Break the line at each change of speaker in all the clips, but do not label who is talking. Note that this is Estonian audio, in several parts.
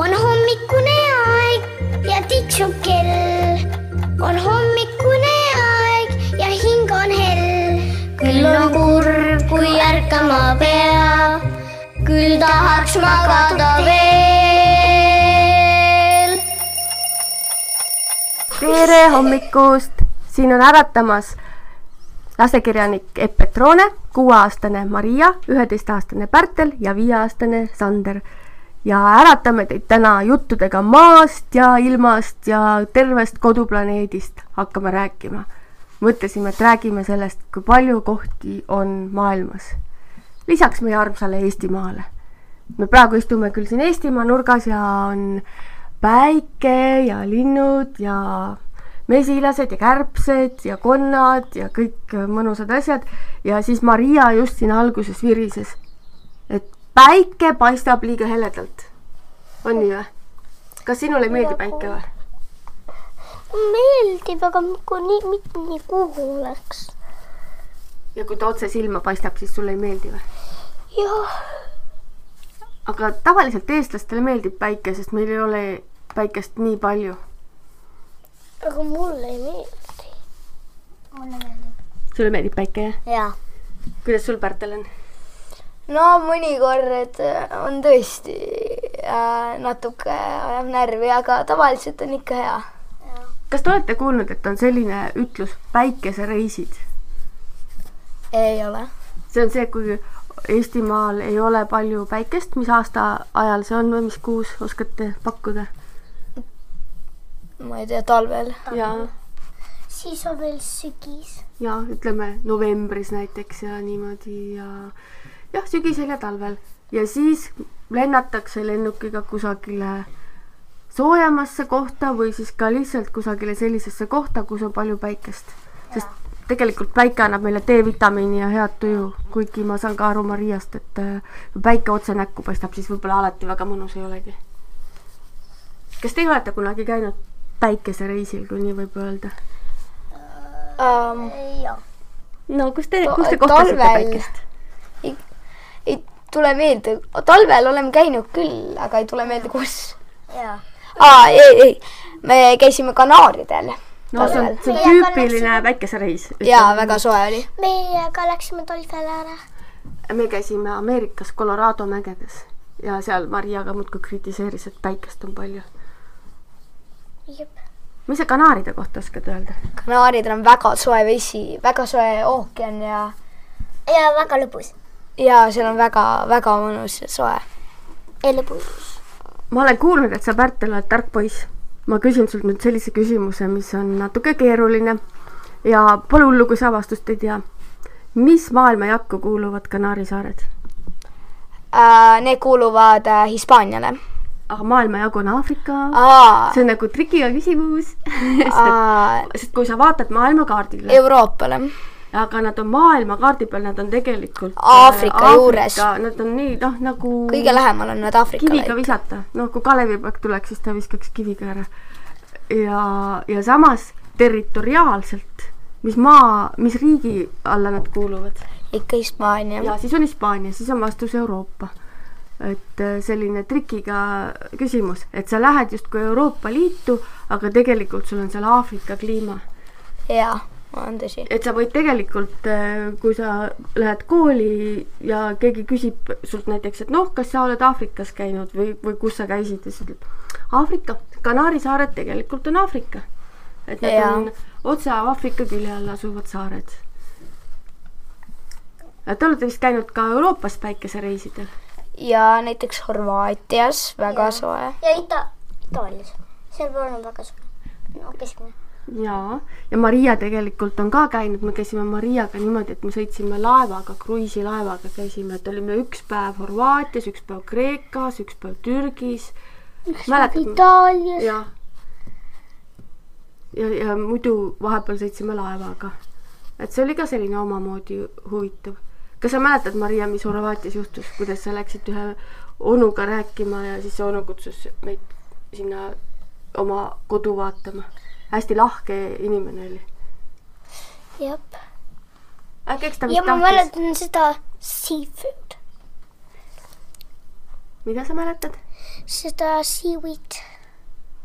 on hommikune aeg ja tiksub kell . on hommikune aeg ja hing on hell . küll on kurb , kui ärkama peab , küll tahaks magada veel .
tere hommikust , siin on äratamas lasekirjanik Epp Petrone , kuueaastane Maria , üheteistaastane Pärtel ja viieaastane Sander . ja äratame teid täna juttudega maast ja ilmast ja tervest koduplaneedist hakkame rääkima . mõtlesime , et räägime sellest , kui palju kohti on maailmas . lisaks meie armsale Eestimaale . me praegu istume küll siin Eestimaa nurgas ja on päike ja linnud ja mesilased ja kärbsed ja konnad ja kõik mõnusad asjad ja siis Maria just siin alguses virises , et päike paistab liiga heledalt . on nii või ? kas sinule meeldib päike või ?
meeldib , aga kui nii mitte nii kuhu oleks .
ja kui ta otse silma paistab , siis sulle ei meeldi või ?
jah ,
aga tavaliselt eestlastele meeldib päike , sest meil ei ole päikest nii palju .
aga mulle ei meeldi . mulle meeldib .
sulle meeldib päike jah ?
jaa
kuidas sul , Pärtel on ?
no mõnikord on tõesti äh, natuke ajab närvi , aga tavaliselt on ikka hea .
kas te olete kuulnud , et on selline ütlus päikesereisid ?
ei ole .
see on see , kui Eestimaal ei ole palju päikest , mis aasta ajal see on või mis kuus oskate pakkuda ?
ma ei tea , talvel .
ja ,
siis on veel sügis .
ja ütleme novembris näiteks ja niimoodi ja jah , sügisel ja talvel ja siis lennatakse lennukiga kusagile soojemasse kohta või siis ka lihtsalt kusagile sellisesse kohta , kus on palju päikest , sest tegelikult päike annab meile D-vitamiini ja head tuju , kuigi ma saan ka aru Mariast , et äh, kui päike otse näkku paistab , siis võib-olla alati väga mõnus ei olegi . kas teie olete kunagi käinud päikesereisil , kui nii võib öelda ?
Um,
jah .
no kus te ,
Ta-
kus te kohtasite
äh, talvel.
päikest ?
ei tule meelde , talvel oleme käinud küll , aga ei tule meelde , kus .
jaa .
aa , ei , ei , me käisime Kanaaridel .
no see on , see on
Meie
tüüpiline päikesereis .
jaa , väga soe oli .
meie ka läksime talvele ära .
me käisime Ameerikas Colorado mägedes ja seal Maria ka muudkui kritiseeris , et päikest on palju .
jep .
mis sa Kanaaride kohta oskad öelda ?
Kanaaridel on väga soe vesi , väga soe ookean ja ,
ja väga lõbus .
ja seal on väga-väga mõnus ja soe .
ei lõbus .
ma olen kuulnud , et sa , Pärtel , oled tark poiss . ma küsin sult nüüd sellise küsimuse , mis on natuke keeruline ja pole hullu , kui sa vastust ei tea . mis maailma jakku kuuluvad Kanaari saared ?
Uh, need kuuluvad uh, Hispaaniale .
ah , maailmajagu on Aafrika .
aa ,
see on nagu trikiga küsimus . sest ,
aa ,
sest kui sa vaatad maailmakaardile ,
Euroopale .
aga nad on maailmakaardi peal , nad on tegelikult äh,
Aafrika juures.
Nad on nii noh , nagu
kõige lähemal on nad
kiviga
Aafrikale .
visata , noh kui Kalevipoeg tuleks , siis ta viskaks kiviga ära . ja , ja samas territoriaalselt , mis maa , mis riigi alla nad kuuluvad
ikka Hispaania .
ja siis on Hispaania , siis on vastus Euroopa . et äh, selline trikiga küsimus , et sa lähed justkui Euroopa Liitu , aga tegelikult sul on seal Aafrika kliima
jaa , on tõsi .
et sa võid tegelikult , kui sa lähed kooli ja keegi küsib sult näiteks , et noh , kas sa oled Aafrikas käinud või , või kus sa käisid ja siis ütled Aafrika , Kanaari saared tegelikult on Aafrika . et need ja.
Jaa.
on otse Aafrika külje all asuvad saared . Te olete vist käinud ka Euroopas päikesereisidel ?
ja näiteks Horvaatias väga ja. soe .
ja Ita- , Itaalias . seal pole väga suur . no keskmine .
jaa , ja Maria tegelikult on ka käinud , me käisime Mariaga niimoodi , et me sõitsime laevaga , kruiisilaevaga käisime , et olime üks päev Horvaatias , üks päev Kreekas , üks päev Türgis . mäletad ?
Itaalias .
jah . ja , ja muidu vahepeal sõitsime laevaga . et see oli ka selline omamoodi huvitav . kas sa mäletad , Maria , mis Horvaatias juhtus , kuidas sa läksid ühe onuga rääkima ja siis see onu kutsus meid sinna oma kodu vaatama ? hästi lahke inimene oli .
jep .
äkki eks ta
ja
vist
ma
tahtis ,
mäletan seda seafood .
mida sa mäletad ?
seda siivid .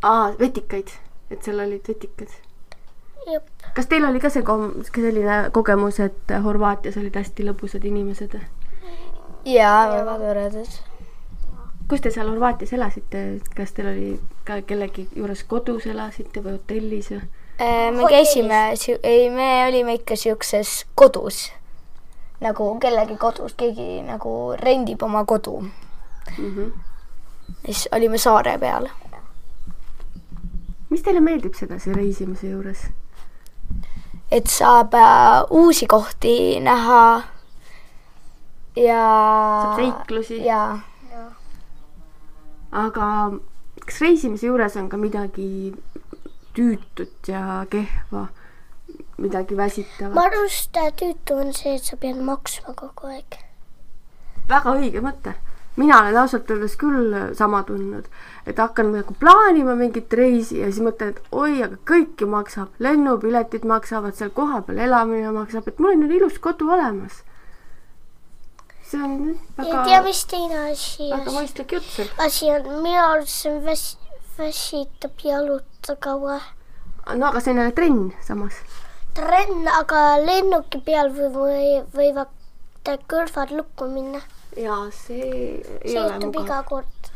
aa , vetikaid , et seal olid vetikad .
jep ,
kas teil oli ka see kom- , selline kogemus , et Horvaatias olid hästi lõbusad inimesed ?
jaa , väga toredad .
kus te seal Horvaatias elasite , kas teil oli ka kellegi juures kodus elasite või hotellis või ?
Äh, me käisime , ei , me olime ikka siukses kodus nagu kellegi kodus , keegi nagu rendib oma kodu mm .
Mhm.
-hmm. siis olime saare peal .
mis teile meeldib sedasi reisimise juures ?
et saab äh, uusi kohti näha . ja .
Saab seiklusi.
ja ,
aga kas reisimise juures on ka midagi tüütut ja kehva , midagi väsitavat
ma ? arvan , seda tüütu on see , et sa pead maksma kogu aeg .
väga õige mõte . mina olen ausalt öeldes küll sama tundnud , et hakkan nagu plaanima mingit reisi ja siis mõtlen , et oi , aga kõik ju maksab , lennupiletid maksavad , seal kohapeal elamine maksab , et mul on ju ilus kodu olemas . see on
ja tea ,
väga ,
mis teine asi
väga
on ,
mõistlik jutt sul .
asi on , minu arust see on väs- , väsitab jalutada kaua .
no aga see on jälle trenn samas .
trenn , aga lennuki peal või, või võivad ta kõrvad lukku minna .
ja see ei
see
ole
juhtub
mugav .
iga kord .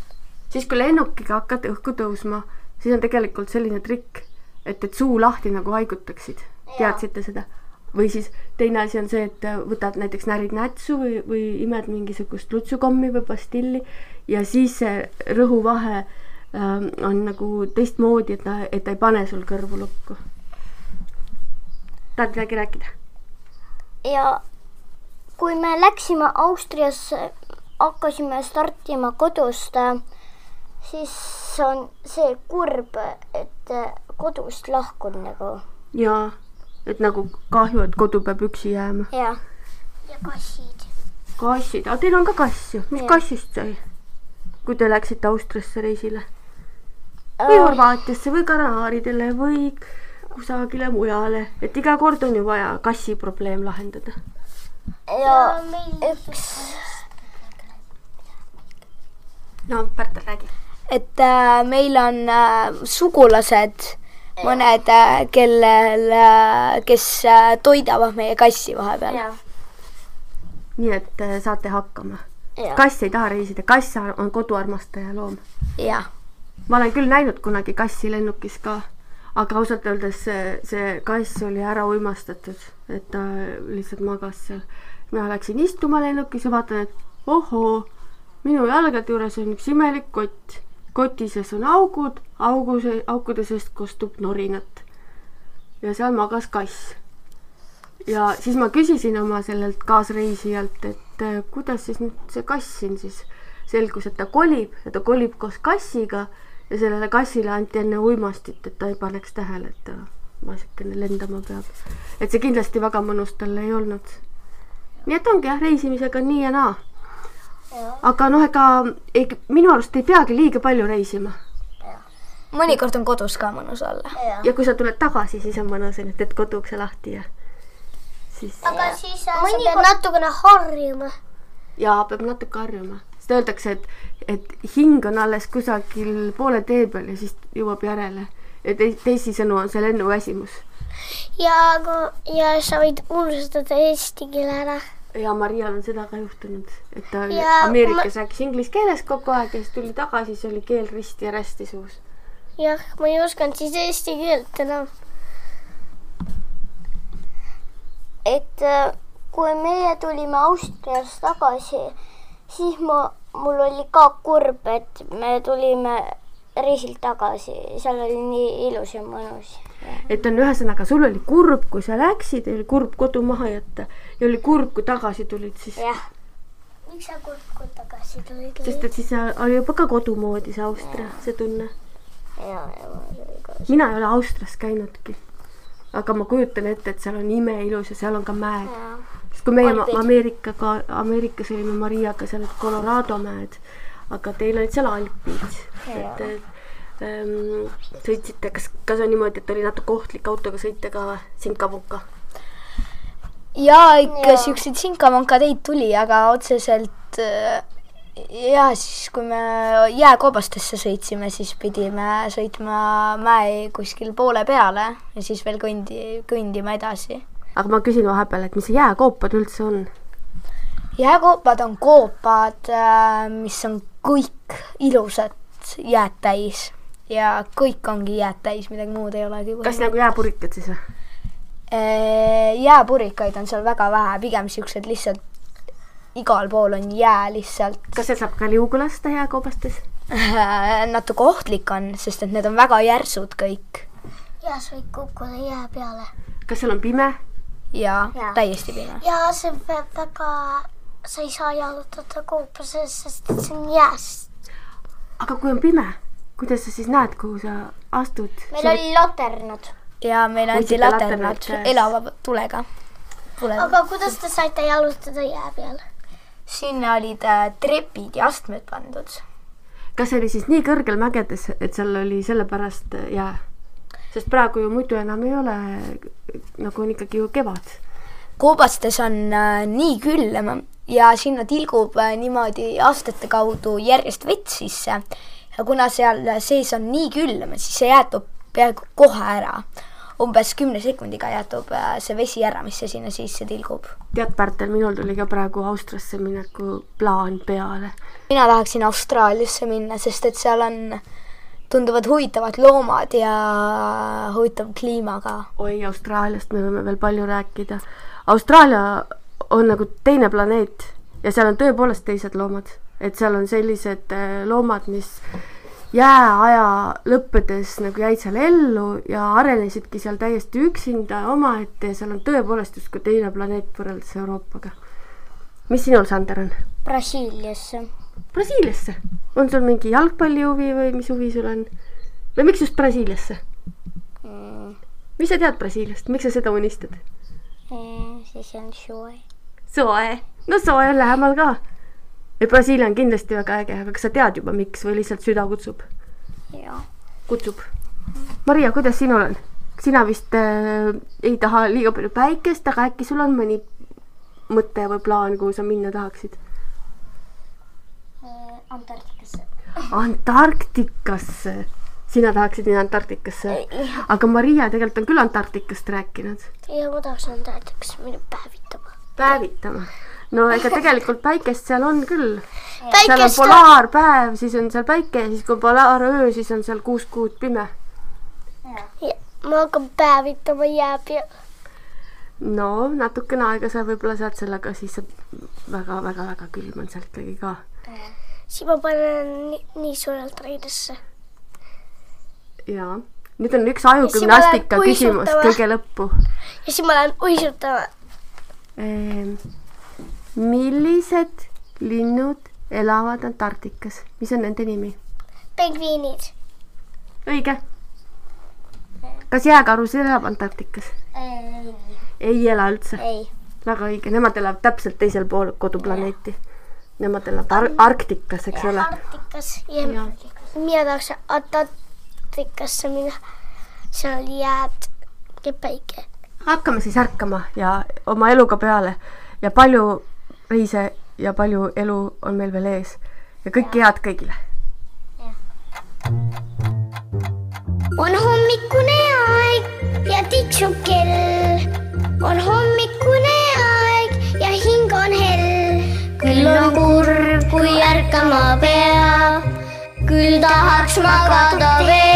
siis , kui lennukiga hakkad õhku tõusma , siis on tegelikult selline trikk , et , et suu lahti nagu haigutaksid . teadsite seda ? või siis teine asi on see , et äh, võtad näiteks närid nätsu või , või imed mingisugust lutsukommi või pastilli ja siis see rõhuvahe ähm, on nagu teistmoodi , et ta , et ta ei pane sul kõrvu lukku . tahad midagi rääkida ?
ja kui me läksime Austriasse , hakkasime startima kodust , siis on see kurb , et äh, kodust lahkun nagu .
jaa , et nagu kahju , et kodu peab üksi jääma .
ja . ja kassid .
kassid , aga teil on ka kass ju , mis
Jah.
kassist sai ? kui te läksite Austriasse reisile või Horvaatiasse või Kanaaridele või kusagile mujale , et iga kord on ju vaja kassi probleem lahendada .
ja üks .
no Pärtel räägi .
et äh, meil on äh, sugulased , mõned äh, , kellel äh, , kes äh, toidavad meie kassi vahepeal .
nii et äh, saate hakkama .
ja ,
kass ei taha reisida , kass ar- on koduarmastaja loom .
jah ,
ma olen küll näinud kunagi kassi lennukis ka , aga ausalt öeldes see , see kass oli ära uimastatud , et ta lihtsalt magas seal . mina läksin istuma lennukis ja vaatan , et ohoo , minu jalgade juures on üks imelik kott . koti sees on augud , augu , aukude seest kostub norinat . ja seal magas kass . ja siis ma küsisin oma sellelt kaasreisijalt , et äh, kuidas siis nüüd see kass siin siis selgus , et ta kolib ja ta kolib koos kassiga ja sellele kassile anti enne uimastit , et ta ei paneks tähele , et ta maasikene lendama peab . et see kindlasti väga mõnus talle ei olnud . nii et ongi jah , reisimisega nii ja naa . aga noh , ega ei, minu arust ei peagi liiga palju reisima
mõnikord on kodus ka mõnus olla .
ja kui sa tuled tagasi , siis on mõnus , et teed koduukse lahti ja siis
aga siis äh, sa pead natukene harjuma .
ja peab natuke harjuma , sest öeldakse , et , et hing on alles kusagil poole tee peal ja siis jõuab järele . ja te, teisisõnu on see lennuväsimus .
ja , ja sa võid unustada eesti keele ära .
ja Marial on seda ka juhtunud , et ta oli
Ja
Ameerikas ma... rääkis inglise keeles kogu aeg ja siis tuli tagasi , siis oli keel risti ja rästi suus .
jah , ma ei osanud siis eesti keelt enam . et äh, kui meie tulime Austriast tagasi , siis ma , mul oli ka kurb , et me tulime reisilt tagasi , seal oli nii ilus ja mõnus .
et on ühesõnaga , sul oli kurb , kui sa läksid , oli kurb kodu maha jätta ja oli kurb , kui tagasi tulid siis .
jah . miks sa kurb , kui tagasi tulid ?
sest et siis oli juba ka kodu moodi see Austria , see tunne
ja , ja ma olin ka .
mina ei ole Austrias käinudki . aga ma kujutan ette , et seal on imeilus ja seal on ka mäed . sest kui meie ma-
Alpid.
Ameerikaga , Ameerikas olime Mariaga seal olid Colorado mäed , aga teil olid seal alpid . et et, ähm, sõitsite , kas , kas on niimoodi , et oli natuke ohtlik autoga sõita ka või? sinkavuka ?
ja ikka
Jaa.
siukseid sinkavankadeid tuli , aga otseselt äh, ja siis , kui me jääkoobastesse sõitsime , siis pidime sõitma mäe kuskil poole peale ja siis veel kõndi , kõndima edasi .
aga ma küsin vahepeal , et mis jääkoopad üldse on ?
jääkoopad on koopad , mis on kõik ilusat jääd täis ja kõik ongi jääd täis , midagi muud ei olegi .
kas nagu jääpurikad siis või ?
jääpurikaid on seal väga vähe , pigem siuksed lihtsalt , igal pool on jää lihtsalt .
kas seal saab ka liugu lasta jääkoobastes ?
natuke ohtlik on , sest et need on väga järsud kõik
ja sa võid kukkuda jää peale .
kas seal on pime ?
ja,
Jaa.
ja. täiesti pime .
ja see peab väga , sa ei saa jalutada koopa sees , sest et see on jääst .
aga kui on pime , kuidas sa siis näed , kuhu sa astud ?
meil oli laternud .
ja meile anti
Võtsite laternad
laternad
käest.
elava tulega .
aga kuidas te saite jalutada jää peale ?
sinna olid äh, trepid ja astmed pandud .
kas see oli siis nii kõrgel mägedes , et seal oli sellepärast äh, jää ? sest praegu ju muidu enam ei ole , nagu on ikkagi ju kevad .
koobastes on äh, nii külm ja sinna tilgub äh, niimoodi aastate kaudu järjest vett sisse . ja kuna seal äh, sees on nii külm , siis see jäätub peaaegu kohe ära . umbes kümne sekundiga jäätub äh, see vesi ära , mis see sinna sisse tilgub .
tead , Pärtel , minul tuli ka praegu Austriasse mineku plaan peale .
mina tahaksin Austraaliasse minna , sest et seal on , tunduvad huvitavad loomad ja huvitav kliima ka .
oi , Austraaliast me võime veel palju rääkida . Austraalia on nagu teine planeet ja seal on tõepoolest teised loomad , et seal on sellised eh, loomad , mis jääaja lõppedes nagu jäid seal ellu ja arenesidki seal täiesti üksinda omaette ja seal on tõepoolest justkui teine planeet võrreldes Euroopaga . mis sinul , Sander , on ?
Brasiiliasse .
Brasiiliasse . on sul mingi jalgpallihuvi või mis huvi sul on ? või miks just Brasiiliasse ?
Mm.
mis sa tead Brasiiliast , miks sa seda unistad ?
Eh, siis on soe .
soe . no soe on lähemal ka . ja Brasiilia on kindlasti väga äge , aga kas sa tead juba , miks või lihtsalt süda kutsub ?
jah .
kutsub . Maria , kuidas sinul on ? sina vist äh, ei taha liiga palju päikest , aga äkki sul on mõni mõte või plaan , kuhu sa minna tahaksid ?
Eh, Antarktikasse .
Antarktikasse . sina tahaksid minna Antarktikasse ? aga Maria tegelikult on küll Antarktikast rääkinud .
ja ma tahaks Antarktikasse minna päevitama .
päevitama . no ega tegelikult päikest seal on küll .
Eh.
seal on
päikest on .
polaarpäev , siis on seal päike ja siis kui on polaaröö , siis on seal kuus kuud pime .
ma hakkan päevitama jää peal .
no natukene aega sa võib-olla saad sellega , siis sa väga-väga-väga külm on seal ikkagi ka .
siis ma panen nii, nii suurelt riidesse .
jaa . nüüd on üks
Ja siis ma
ajugümnastika
lähen
küsimus
uisutama.
kõige lõppu .
ja siis ma lähen uisutama .
Ehm, millised linnud elavad Antarktikas , mis on nende nimi ?
pingviinid .
õige . kas jääkarus elab Antarktikas ?
ei .
ei ela üldse ,
ei .
väga õige , nemad elavad täpselt teisel pool koduplaneeti . Nemad elavad ar Arktikas , eks ole .
Arktikas ja, er ja. mina tahaks Antarktikasse minna . seal jääd ja päike .
hakkame siis ärkama ja oma eluga peale ja palju reise ja palju elu on meil veel ees ja kõike head kõigile
on hommikune aeg er ja tiksub kell . on hommikune aeg er ja hing on hell . küll on kurb , kui ärkama pea . küll tahaks magada veel .